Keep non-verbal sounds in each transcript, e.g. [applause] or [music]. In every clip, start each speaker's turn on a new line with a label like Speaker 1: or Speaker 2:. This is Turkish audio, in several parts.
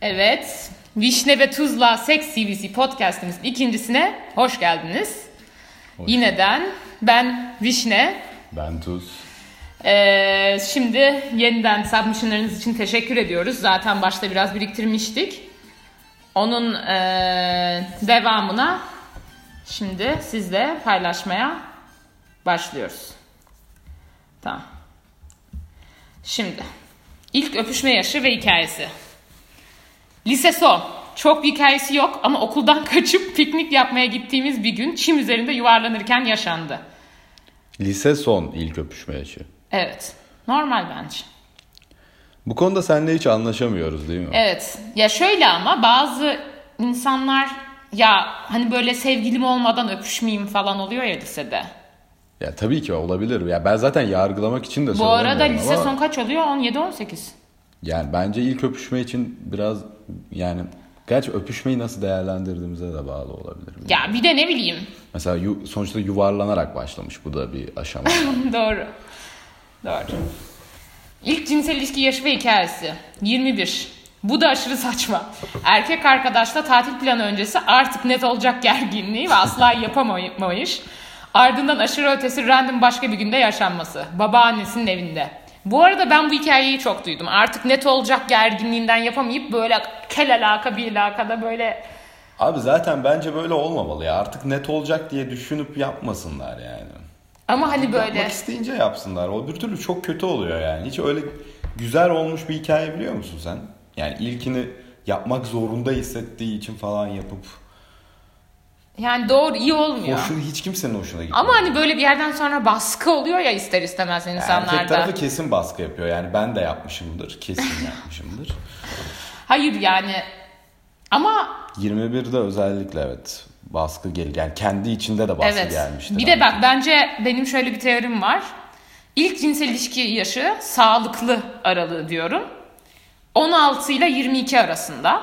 Speaker 1: Evet. Vişne ve Tuzla Sex CVC podcastımızın ikincisine hoş geldiniz.
Speaker 2: Hoş
Speaker 1: Yineden ben Vişne.
Speaker 2: Ben Tuz.
Speaker 1: Ee, şimdi yeniden submissionlarınız için teşekkür ediyoruz. Zaten başta biraz biriktirmiştik. Onun ee, devamına şimdi sizle paylaşmaya başlıyoruz. Tamam. Şimdi ilk öpüşme yaşı ve hikayesi. Lise son. Çok bir hikayesi yok ama okuldan [laughs] kaçıp piknik yapmaya gittiğimiz bir gün çim üzerinde yuvarlanırken yaşandı.
Speaker 2: Lise son ilk öpüşme yaşı.
Speaker 1: Evet. Normal bence.
Speaker 2: Bu konuda seninle hiç anlaşamıyoruz değil mi?
Speaker 1: Evet. Ya şöyle ama bazı insanlar ya hani böyle sevgilim olmadan öpüşmeyeyim falan oluyor ya lisede.
Speaker 2: Ya tabii ki olabilir. Ya ben zaten yargılamak için de
Speaker 1: Bu arada
Speaker 2: söylemiyorum
Speaker 1: lise
Speaker 2: ama
Speaker 1: son kaç oluyor? 17-18.
Speaker 2: Yani bence ilk öpüşme için biraz yani gerçi öpüşmeyi nasıl değerlendirdiğimize de bağlı olabilir.
Speaker 1: Ya bir de ne bileyim.
Speaker 2: Mesela yu- sonuçta yuvarlanarak başlamış bu da bir
Speaker 1: [laughs]
Speaker 2: aşama.
Speaker 1: Doğru. Doğru. İlk cinsel ilişki yaşı ve hikayesi. 21. Bu da aşırı saçma. Erkek arkadaşla tatil planı öncesi artık net olacak gerginliği ve asla yapamayış. Ardından aşırı ötesi random başka bir günde yaşanması. Babaannesinin evinde. Bu arada ben bu hikayeyi çok duydum. Artık net olacak gerginliğinden yapamayıp böyle kel alaka bir alakada böyle
Speaker 2: Abi zaten bence böyle olmamalı ya. Artık net olacak diye düşünüp yapmasınlar yani.
Speaker 1: ama hani böyle
Speaker 2: Yapmak isteyince yapsınlar. O bir türlü çok kötü oluyor yani. Hiç öyle güzel olmuş bir hikaye biliyor musun sen? Yani ilkini yapmak zorunda hissettiği için falan yapıp
Speaker 1: yani doğru iyi olmuyor.
Speaker 2: hoşuna hiç kimsenin hoşuna gitmiyor.
Speaker 1: Ama hani böyle bir yerden sonra baskı oluyor ya ister istemez
Speaker 2: erkek
Speaker 1: insanlarda.
Speaker 2: tarafı kesin baskı yapıyor. Yani ben de yapmışımdır. Kesin [laughs] yapmışımdır.
Speaker 1: Hayır yani ama
Speaker 2: 21'de özellikle evet baskı gelir. Yani kendi içinde de baskı
Speaker 1: evet.
Speaker 2: gelmiştir.
Speaker 1: Bir de bak bence benim şöyle bir teorim var. İlk cinsel ilişki yaşı sağlıklı aralığı diyorum. 16 ile 22 arasında.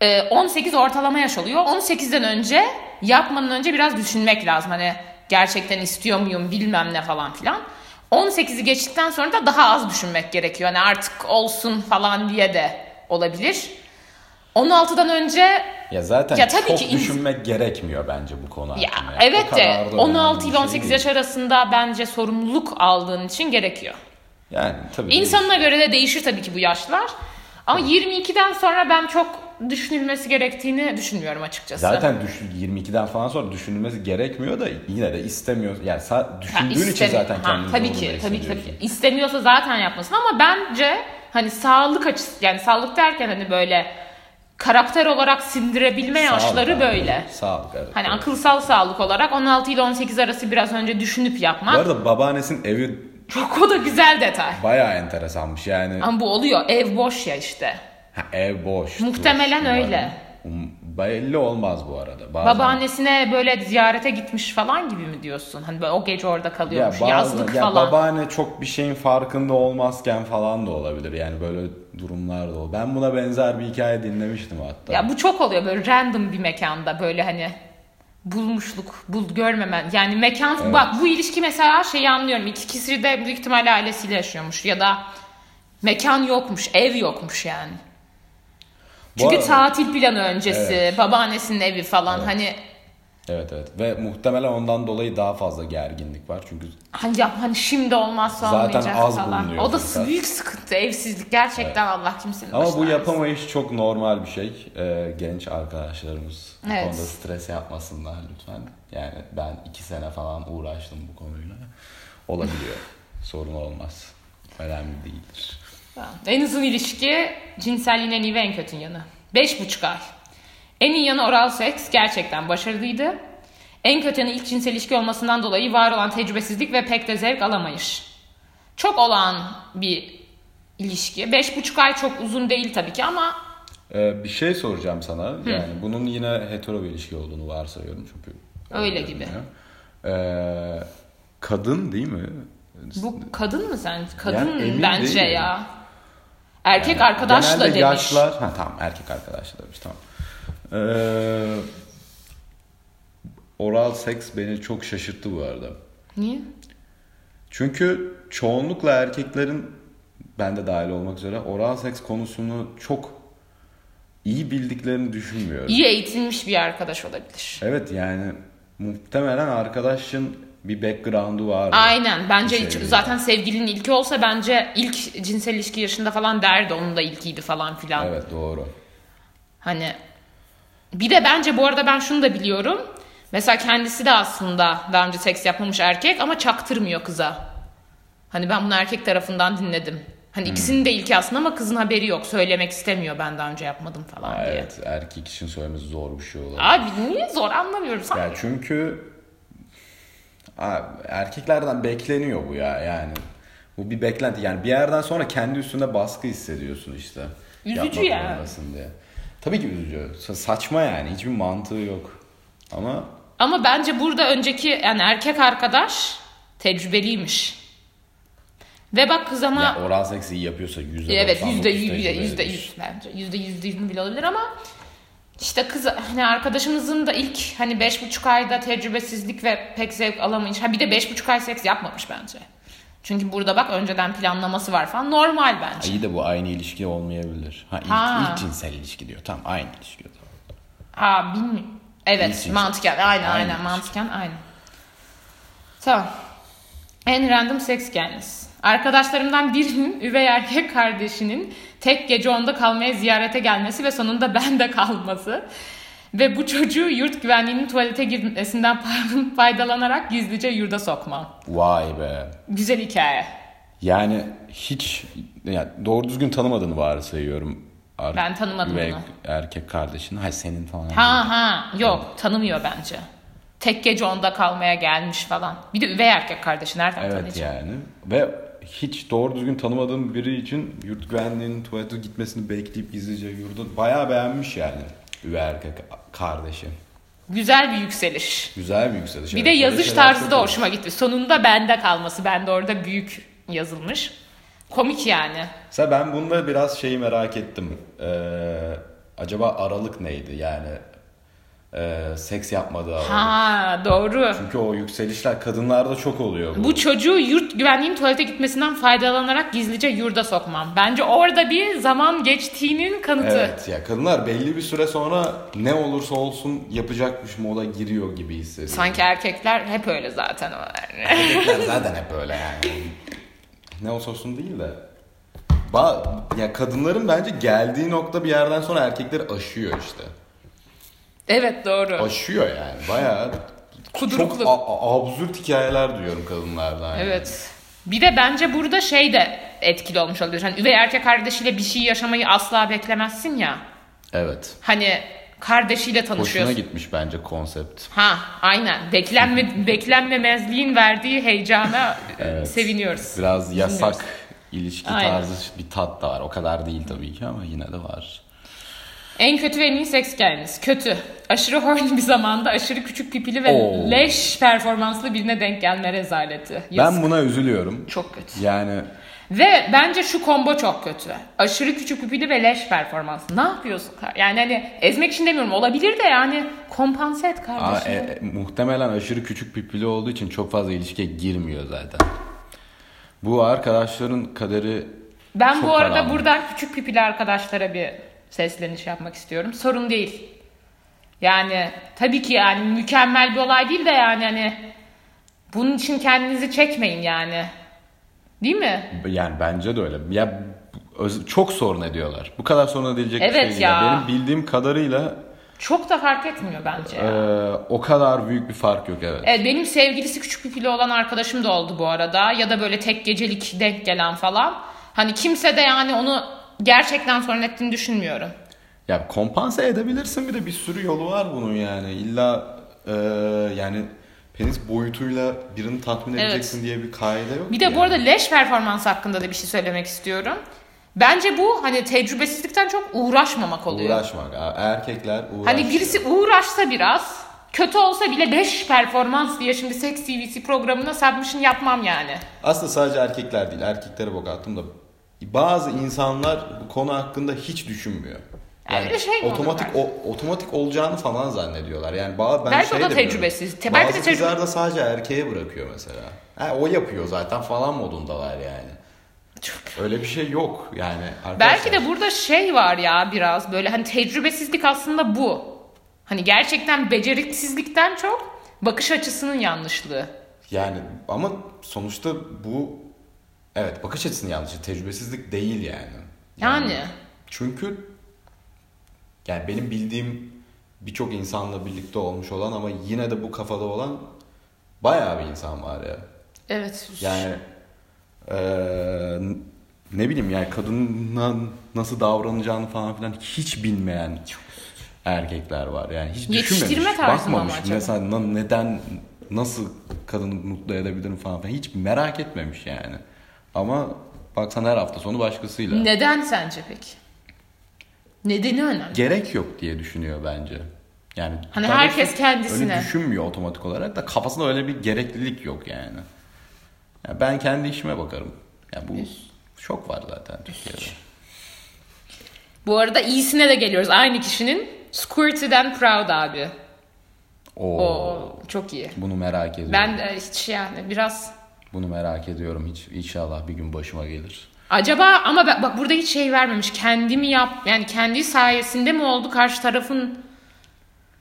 Speaker 1: Ee, 18 ortalama yaş oluyor. 18'den önce yapmadan önce biraz düşünmek lazım. Hani gerçekten istiyor muyum bilmem ne falan filan. 18'i geçtikten sonra da daha az düşünmek gerekiyor. Hani artık olsun falan diye de olabilir. 16'dan önce
Speaker 2: Ya zaten
Speaker 1: Ya tabii
Speaker 2: çok
Speaker 1: ki ins-
Speaker 2: düşünmek gerekmiyor bence bu konu
Speaker 1: Ya,
Speaker 2: hakkında. O
Speaker 1: evet
Speaker 2: kadar da
Speaker 1: de
Speaker 2: önemli
Speaker 1: 16
Speaker 2: bir
Speaker 1: ile
Speaker 2: şey
Speaker 1: 18
Speaker 2: değil.
Speaker 1: yaş arasında bence sorumluluk aldığın için gerekiyor.
Speaker 2: Yani tabii. değil.
Speaker 1: İnsanına göre de değişir tabii ki bu yaşlar. Ama 22'den sonra ben çok düşünülmesi gerektiğini düşünmüyorum açıkçası.
Speaker 2: Zaten düşün, 22'den falan sonra düşünülmesi gerekmiyor da yine de istemiyor. Yani sa-
Speaker 1: Ha,
Speaker 2: düşündüğün için
Speaker 1: istemi-
Speaker 2: zaten
Speaker 1: Ha,
Speaker 2: kendini
Speaker 1: tabii
Speaker 2: zorunda
Speaker 1: ki, tabii ki, tabii ki.
Speaker 2: hissediyorsun.
Speaker 1: İstemiyorsa zaten yapmasın ama bence hani sağlık açısı yani sağlık derken hani böyle karakter olarak sindirebilme yaşları
Speaker 2: Sağlık abi,
Speaker 1: böyle.
Speaker 2: Sağlık evet.
Speaker 1: Hani
Speaker 2: evet.
Speaker 1: akılsal sağlık olarak 16 ile 18 arası biraz önce düşünüp
Speaker 2: Bu
Speaker 1: yapmak.
Speaker 2: arada babaannesinin evi
Speaker 1: Çok o da güzel detay.
Speaker 2: bayağı enteresanmış yani.
Speaker 1: Ama bu oluyor. Ev boş ya işte.
Speaker 2: Ha, ev boş.
Speaker 1: Muhtemelen
Speaker 2: Umarım.
Speaker 1: öyle.
Speaker 2: Um- Belli olmaz bu arada. Bazen,
Speaker 1: Babaannesine böyle ziyarete gitmiş falan gibi mi diyorsun? Hani böyle o gece orada
Speaker 2: ya
Speaker 1: kalıyormuş.
Speaker 2: bazen-
Speaker 1: yazlık
Speaker 2: ya
Speaker 1: falan.
Speaker 2: babaanne çok bir şeyin farkında olmazken falan da olabilir. Yani böyle durumlar da olur. Ben buna benzer bir hikaye dinlemiştim hatta.
Speaker 1: Ya bu çok oluyor böyle random bir mekanda böyle hani bulmuşluk, bul görmemen. Yani mekan
Speaker 2: Evet.
Speaker 1: bak bu ilişki mesela şeyi anlıyorum. İki kişi de büyük ihtimalle ailesiyle yaşıyormuş ya da mekan yokmuş, ev yokmuş yani.
Speaker 2: Bu
Speaker 1: Çünkü
Speaker 2: arada-
Speaker 1: tatil planı öncesi,
Speaker 2: Evet.
Speaker 1: babaannesinin evi falan hani
Speaker 2: Evet evet ve muhtemelen ondan dolayı daha fazla gerginlik var. Çünkü
Speaker 1: Hani yap hani şimdi olmazsa
Speaker 2: Zaten
Speaker 1: olmayacak
Speaker 2: az
Speaker 1: falan.
Speaker 2: bulunuyor
Speaker 1: O da
Speaker 2: zaten.
Speaker 1: büyük sıkıntı evsizlik gerçekten Allah kimsenin
Speaker 2: Ama
Speaker 1: başına
Speaker 2: bu
Speaker 1: vermesin.
Speaker 2: yapamayış çok normal bir şey. Ee, genç arkadaşlarımız bu
Speaker 1: Evet.
Speaker 2: konuda stres yapmasınlar lütfen. Yani ben iki sene falan uğraştım bu konuyla.
Speaker 1: [laughs]
Speaker 2: Olabiliyor. Sorun olmaz. Önemli değildir.
Speaker 1: Tamam. En uzun ilişki cinselliğin en iyi ve en kötü yanı. Beş buçuk ay. En iyi yanı oral seks gerçekten başarılıydı. En kötü yanı ilk cinsel ilişki olmasından dolayı var olan tecrübesizlik ve pek de zevk alamayış. Çok olağan bir ilişki. Beş buçuk ay çok uzun değil tabii ki ama
Speaker 2: Ee, bir şey soracağım sana. Yani bunun yine hetero bir ilişki olduğunu varsayıyorum çünkü.
Speaker 1: Öyle gibi.
Speaker 2: görünüyor. Ee, kadın değil mi?
Speaker 1: bu kadın mı sen? Kadın
Speaker 2: Yani emin
Speaker 1: bence
Speaker 2: değilim.
Speaker 1: ya. Erkek
Speaker 2: Yani
Speaker 1: arkadaşla
Speaker 2: genelde
Speaker 1: demiş.
Speaker 2: yaşlar, ha tamam erkek arkadaşla demiş tamam. Ee, oral seks beni çok şaşırttı bu arada.
Speaker 1: Niye?
Speaker 2: Çünkü çoğunlukla erkeklerin ben de dahil olmak üzere oral seks konusunu çok iyi bildiklerini düşünmüyorum.
Speaker 1: İyi eğitilmiş bir arkadaş olabilir.
Speaker 2: Evet yani muhtemelen arkadaşın bir background'u var.
Speaker 1: Aynen. Bence
Speaker 2: Bir şey
Speaker 1: hiç-
Speaker 2: değil.
Speaker 1: zaten sevgilinin ilki olsa bence ilk cinsel ilişki yaşında falan derdi onun da ilkiydi falan filan.
Speaker 2: Evet doğru.
Speaker 1: Hani bir de bence bu arada ben şunu da biliyorum. Mesela kendisi de aslında daha önce seks yapmamış erkek ama çaktırmıyor kıza. Hani ben bunu erkek tarafından dinledim.
Speaker 2: Hmm.
Speaker 1: Hani ikisinin de ilki aslında ama kızın haberi yok. Söylemek istemiyor ben daha önce yapmadım falan
Speaker 2: Aa,
Speaker 1: diye.
Speaker 2: evet erkek için söylemesi zor bir şey olabilir.
Speaker 1: Abi niye zor anlamıyorum. Sen-
Speaker 2: Ya çünkü Abi, erkeklerden bekleniyor bu ya yani. Bu bir beklenti yani bir yerden sonra kendi üstünde baskı hissediyorsun işte.
Speaker 1: Üzücü
Speaker 2: Yapmak
Speaker 1: ya.
Speaker 2: zorundasın diye. Tabii ki üzücü. Sa- Saçma yani hiçbir mantığı yok. Ama
Speaker 1: Ama bence burada önceki yani erkek arkadaş tecrübeliymiş. Ve bak kız ama
Speaker 2: ya oral seks iyi yapıyorsa %99
Speaker 1: Evet yüzde yüz
Speaker 2: tecrübe
Speaker 1: yüzde
Speaker 2: edilir.
Speaker 1: yüz bence yüzde yüzde yirmi bile olabilir ama işte kız hani arkadaşımızın da ilk hani beş buçuk ayda tecrübesizlik ve pek zevk alamayış. Ha bir de beş buçuk ay seks yapmamış bence. Çünkü burada bak önceden planlaması var falan normal bence.
Speaker 2: İyi de bu aynı ilişki olmayabilir. Ha ilk,
Speaker 1: Ha.
Speaker 2: ilk cinsel ilişki diyor. Tamam aynı ilişki. diyor.
Speaker 1: Ha bilmiyorum. Evet
Speaker 2: İyi
Speaker 1: mantıken aynen
Speaker 2: Aynen.
Speaker 1: aynen mantıken aynen. Tamam. En random seks gelmesi. Arkadaşlarımdan birinin üvey erkek kardeşinin tek gece onda kalmaya ziyarete gelmesi ve sonunda bende kalması. Ve bu çocuğu yurt güvenliğinin tuvalete girmesinden [laughs] faydalanarak gizlice yurda sokma.
Speaker 2: Vay be.
Speaker 1: Güzel hikaye.
Speaker 2: Yani hiç yani doğru düzgün tanımadığını varsayıyorum. Ar-
Speaker 1: Ben tanımadım
Speaker 2: ve
Speaker 1: onu.
Speaker 2: erkek kardeşini. Hayır senin falan.
Speaker 1: Ha ha yok tanımıyor bence. Tek gece onda kalmaya gelmiş falan. Bir de üvey erkek kardeşi nereden
Speaker 2: Evet
Speaker 1: tanıyacak?
Speaker 2: yani. Ve hiç doğru düzgün tanımadığım biri için yurt güvenliğinin tuvalete gitmesini bekleyip gizlice yurdu bayağı beğenmiş yani. Üvey erkek kardeşi.
Speaker 1: Güzel bir yükseliş.
Speaker 2: Güzel bir yükseliş.
Speaker 1: Bir
Speaker 2: evet.
Speaker 1: de
Speaker 2: Böyle
Speaker 1: yazış
Speaker 2: şeyler
Speaker 1: tarzı
Speaker 2: çok
Speaker 1: da
Speaker 2: hoş.
Speaker 1: hoşuma gitti. Sonunda bende kalması. Bende orada büyük yazılmış. Komik yani.
Speaker 2: Mesela ben bunda biraz şeyi merak ettim. Ee, acaba aralık neydi? Yani e, seks yapmadığı aralık.
Speaker 1: Ha doğru.
Speaker 2: Çünkü o yükselişler kadınlarda çok oluyor. Bu.
Speaker 1: Bu çocuğu yurt güvenliğin tuvalete gitmesinden faydalanarak gizlice yurda sokmam. Bence orada bir zaman geçtiğinin kanıtı.
Speaker 2: Evet ya kadınlar belli bir süre sonra ne olursa olsun yapacakmış moda giriyor gibi hissediyor.
Speaker 1: Sanki erkekler hep öyle zaten. o.
Speaker 2: Erkekler zaten hep böyle yani. Ne olursa olsun değil de. Ba ya kadınların bence geldiği nokta bir yerden sonra erkekler aşıyor işte.
Speaker 1: [laughs] evet doğru.
Speaker 2: Aşıyor yani bayağı.
Speaker 1: Kuduruklu.
Speaker 2: Çok a- a- absürt hikayeler duyuyorum kadınlardan. yani.
Speaker 1: Evet. Bir de bence burada şey de etkili olmuş olabilir. Hani üvey erkek kardeşiyle bir şey yaşamayı asla beklemezsin ya.
Speaker 2: Evet.
Speaker 1: Hani kardeşiyle
Speaker 2: Hoşuna
Speaker 1: tanışıyorsun.
Speaker 2: gitmiş bence konsept.
Speaker 1: Ha, aynen.
Speaker 2: [laughs]
Speaker 1: Beklenme, beklenmemezliğin verdiği heyecana e,
Speaker 2: Evet.
Speaker 1: seviniyoruz.
Speaker 2: Biraz yasak ilişki
Speaker 1: Aynen.
Speaker 2: tarzı bir tat da var. O kadar değil tabii ki ama yine de var.
Speaker 1: En kötü ve en iyi seks gelmeniz. Kötü. Aşırı horny bir zamanda aşırı küçük pipili ve
Speaker 2: Oo.
Speaker 1: leş performanslı birine denk gelme rezaleti. Yazık.
Speaker 2: Ben buna üzülüyorum.
Speaker 1: Çok kötü.
Speaker 2: Yani
Speaker 1: Ve bence şu combo çok kötü. Aşırı küçük pipili ve leş performansı. Ne yapıyorsun? kar- Yani hani ezmek için demiyorum. Olabilir de yani kompanse et
Speaker 2: aa,
Speaker 1: kardeşim.
Speaker 2: e, e, muhtemelen aşırı küçük pipili olduğu için çok fazla ilişkiye girmiyor zaten. Bu arkadaşların kaderi
Speaker 1: Ben
Speaker 2: Çok
Speaker 1: bu arada
Speaker 2: karanlık.
Speaker 1: buradan küçük pipili arkadaşlara bir sesleniş yapmak istiyorum. Sorun değil. Yani tabii ki yani mükemmel bir olay değil de yani hani bunun için kendinizi çekmeyin yani. Değil mi?
Speaker 2: yani bence de öyle. Ya öz- çok sorun ediyorlar. Bu kadar sorun edilecek bir şey
Speaker 1: Evet
Speaker 2: değil.
Speaker 1: ya.
Speaker 2: Benim bildiğim kadarıyla
Speaker 1: Çok da fark etmiyor bence.
Speaker 2: e,
Speaker 1: ya.
Speaker 2: o kadar büyük bir fark yok evet.
Speaker 1: Evet, benim sevgilisi küçük pipili olan arkadaşım da oldu bu arada. Ya da böyle tek gecelik denk gelen falan. Hani kimse de yani onu gerçekten sorun ettiğini düşünmüyorum.
Speaker 2: Ya kompanse edebilirsin bir de bir sürü yolu var bunun yani. İlla e, yani penis boyutuyla birini tatmin
Speaker 1: Evet.
Speaker 2: edeceksin diye bir kaide yok.
Speaker 1: Bir de
Speaker 2: yani.
Speaker 1: bu arada leş performans hakkında da bir şey söylemek istiyorum. Bence bu hani tecrübesizlikten çok uğraşmamak oluyor.
Speaker 2: uğraşmak. abi. Erkekler uğraş.
Speaker 1: hani birisi uğraşsa biraz, kötü olsa bile leş performans diye şimdi Sex TVC programına submission yapmam yani.
Speaker 2: Aslında sadece erkekler değil. Erkeklere bok attım da bazı insanlar bu konu hakkında hiç düşünmüyor.
Speaker 1: Yani öyle şey mi
Speaker 2: otomatik
Speaker 1: olur
Speaker 2: o- otomatik olacağını falan zannediyorlar. Yani ba- ben
Speaker 1: Belki
Speaker 2: şey
Speaker 1: o da
Speaker 2: de
Speaker 1: tecrübesiz. Te-
Speaker 2: biliyorum.
Speaker 1: belki de
Speaker 2: Bazı
Speaker 1: tecrübe-
Speaker 2: kızlar da sadece erkeğe bırakıyor mesela. Ha, o yapıyor zaten falan modundalar yani.
Speaker 1: Çok
Speaker 2: Öyle bir şey yok yani arkadaşlar.
Speaker 1: Belki de burada şey var ya biraz böyle hani tecrübesizlik aslında bu. Hani gerçekten beceriksizlikten çok bakış açısının yanlışlığı.
Speaker 2: Yani ama sonuçta bu evet bakış açısını yanlış. Tecrübesizlik değil yani.
Speaker 1: Yani.
Speaker 2: Çünkü yani benim bildiğim birçok insanla birlikte olmuş olan ama yine de bu kafada olan bayağı bir insan var ya.
Speaker 1: Evet.
Speaker 2: Yani eee, ne bileyim yani kadına nasıl davranacağını falan filan hiç bilmeyen erkekler var. Yani hiç
Speaker 1: Yetiştirme
Speaker 2: düşünmemiş,
Speaker 1: tarzında mı
Speaker 2: bakmamış.
Speaker 1: acaba?
Speaker 2: Mesela na- neden nasıl kadını mutlu edebilirim falan filan hiç merak etmemiş yani. Ama baksan her hafta sonu başkasıyla.
Speaker 1: Neden sence peki? Nedeni önemli.
Speaker 2: Gerek yok diye düşünüyor bence. Yani
Speaker 1: Hani
Speaker 2: daha
Speaker 1: herkes
Speaker 2: doğrusu
Speaker 1: kendisine.
Speaker 2: Öyle düşünmüyor otomatik olarak da kafasında öyle bir gereklilik yok yani. Ya ben kendi işime bakarım. Ya bu çok var zaten Türkiye'de.
Speaker 1: Bu arada iyisine de geliyoruz. Aynı kişinin Squirty'den Proud abi.
Speaker 2: Oo.
Speaker 1: O çok iyi.
Speaker 2: Bunu merak ediyorum.
Speaker 1: Ben de hiç yani biraz
Speaker 2: Bunu merak ediyorum. Hiç inşallah bir gün başıma gelir.
Speaker 1: acaba ama ben- bak burada hiç şey vermemiş. Kendi mi yap yani kendi sayesinde mi oldu karşı tarafın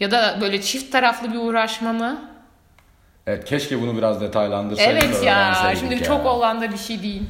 Speaker 1: ya da böyle çift taraflı bir uğraşma mı?
Speaker 2: Evet keşke bunu biraz detaylandırsaydım. da
Speaker 1: Evet ya
Speaker 2: öğrenseydik
Speaker 1: şimdi
Speaker 2: ya.
Speaker 1: çok olan da bir şey değil.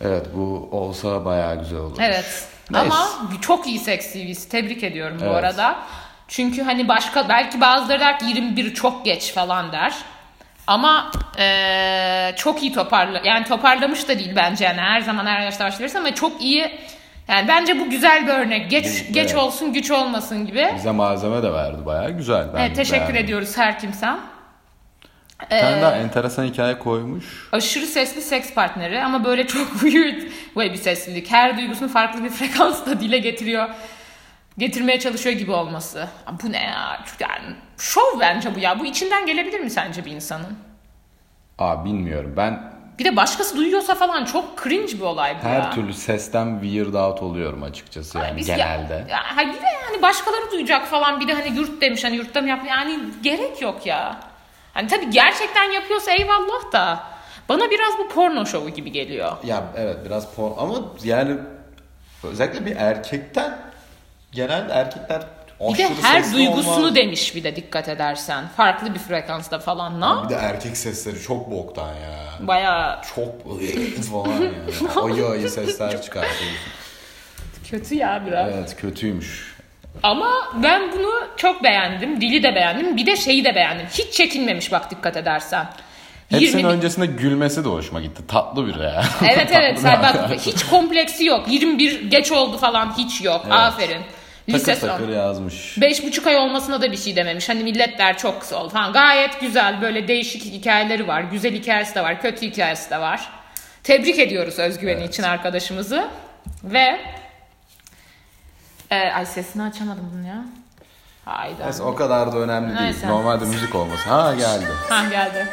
Speaker 2: Evet bu olsa bayağı güzel olur.
Speaker 1: Evet.
Speaker 2: Neyse.
Speaker 1: Ama çok iyi seks CV'si. Tebrik ediyorum bu
Speaker 2: Evet.
Speaker 1: arada. Çünkü hani başka belki bazıları der ki 21 çok geç falan der. Ama eee, çok iyi toparla yani toparlamış da değil bence yani her zaman her yaşta başlayabilirsin ama çok iyi yani bence bu güzel bir örnek. Geç
Speaker 2: Bu-
Speaker 1: geç
Speaker 2: evet.
Speaker 1: olsun güç olmasın gibi.
Speaker 2: Bize malzeme de verdi bayağı güzel. Ben
Speaker 1: Evet, teşekkür Ee,
Speaker 2: beğendim.
Speaker 1: ediyoruz her kimsen.
Speaker 2: Bir tane daha enteresan hikaye koymuş.
Speaker 1: Aşırı sesli seks partneri ama böyle çok [laughs] weird way bir seslilik. Her duygusunu farklı bir [laughs] frekansta dile getiriyor. Getirmeye çalışıyor gibi olması. Ya Bu ne ya? Çok Yani şov bence bu ya. Bu içinden gelebilir mi sence bir insanın?
Speaker 2: Aa bilmiyorum. Ben
Speaker 1: Bir de başkası duyuyorsa falan çok cringe bir olay bu
Speaker 2: her
Speaker 1: ya.
Speaker 2: türlü sesten weird out oluyorum açıkçası yani
Speaker 1: Biz ya-
Speaker 2: genelde.
Speaker 1: Ya, ha bir de yani başkaları duyacak falan bir de hani yurt demiş hani yurtta mı yapıyor yani gerek yok ya. Hani tabii gerçekten yapıyorsa eyvallah da bana biraz bu porno şovu gibi geliyor.
Speaker 2: Ya evet biraz por ama yani özellikle bir erkekten genelde erkekler
Speaker 1: Bir de her
Speaker 2: sesli
Speaker 1: duygusunu
Speaker 2: olmaz.
Speaker 1: demiş bir de dikkat edersen. Farklı bir frekansta falan
Speaker 2: Bir
Speaker 1: ne?
Speaker 2: de erkek sesleri çok boktan ya.
Speaker 1: Baya
Speaker 2: Çok [laughs] falan
Speaker 1: [laughs]
Speaker 2: ya. Ayı ayı sesler çıkartıyor.
Speaker 1: kötü ya biraz.
Speaker 2: Evet kötüymüş.
Speaker 1: Ama ben bunu çok beğendim. Dili de beğendim. Bir de şeyi de beğendim. Hiç çekinmemiş bak dikkat edersen.
Speaker 2: Hepsinin
Speaker 1: 20
Speaker 2: öncesinde gülmesi de hoşuma gitti. Tatlı biri ya.
Speaker 1: [laughs] Evet evet
Speaker 2: Tatlı
Speaker 1: sen
Speaker 2: bir
Speaker 1: bak
Speaker 2: adam.
Speaker 1: hiç kompleksi yok. 21 geç oldu falan hiç yok.
Speaker 2: Evet.
Speaker 1: Aferin. Lise
Speaker 2: Takır
Speaker 1: son.
Speaker 2: takır yazmış.
Speaker 1: Beş buçuk ay olmasına da bir şey dememiş. Hani millet der çok kısa oldu falan. Gayet güzel böyle değişik hikayeleri var. Güzel hikayesi de var. Kötü hikayesi de var. Tebrik ediyoruz özgüveni için arkadaşımızı. Ve e, ay sesini açamadım bunu ya. Hayda.
Speaker 2: Neyse o kadar da önemli değil.
Speaker 1: Neyse.
Speaker 2: Normalde müzik olması. Ha geldi.
Speaker 1: Ha geldi.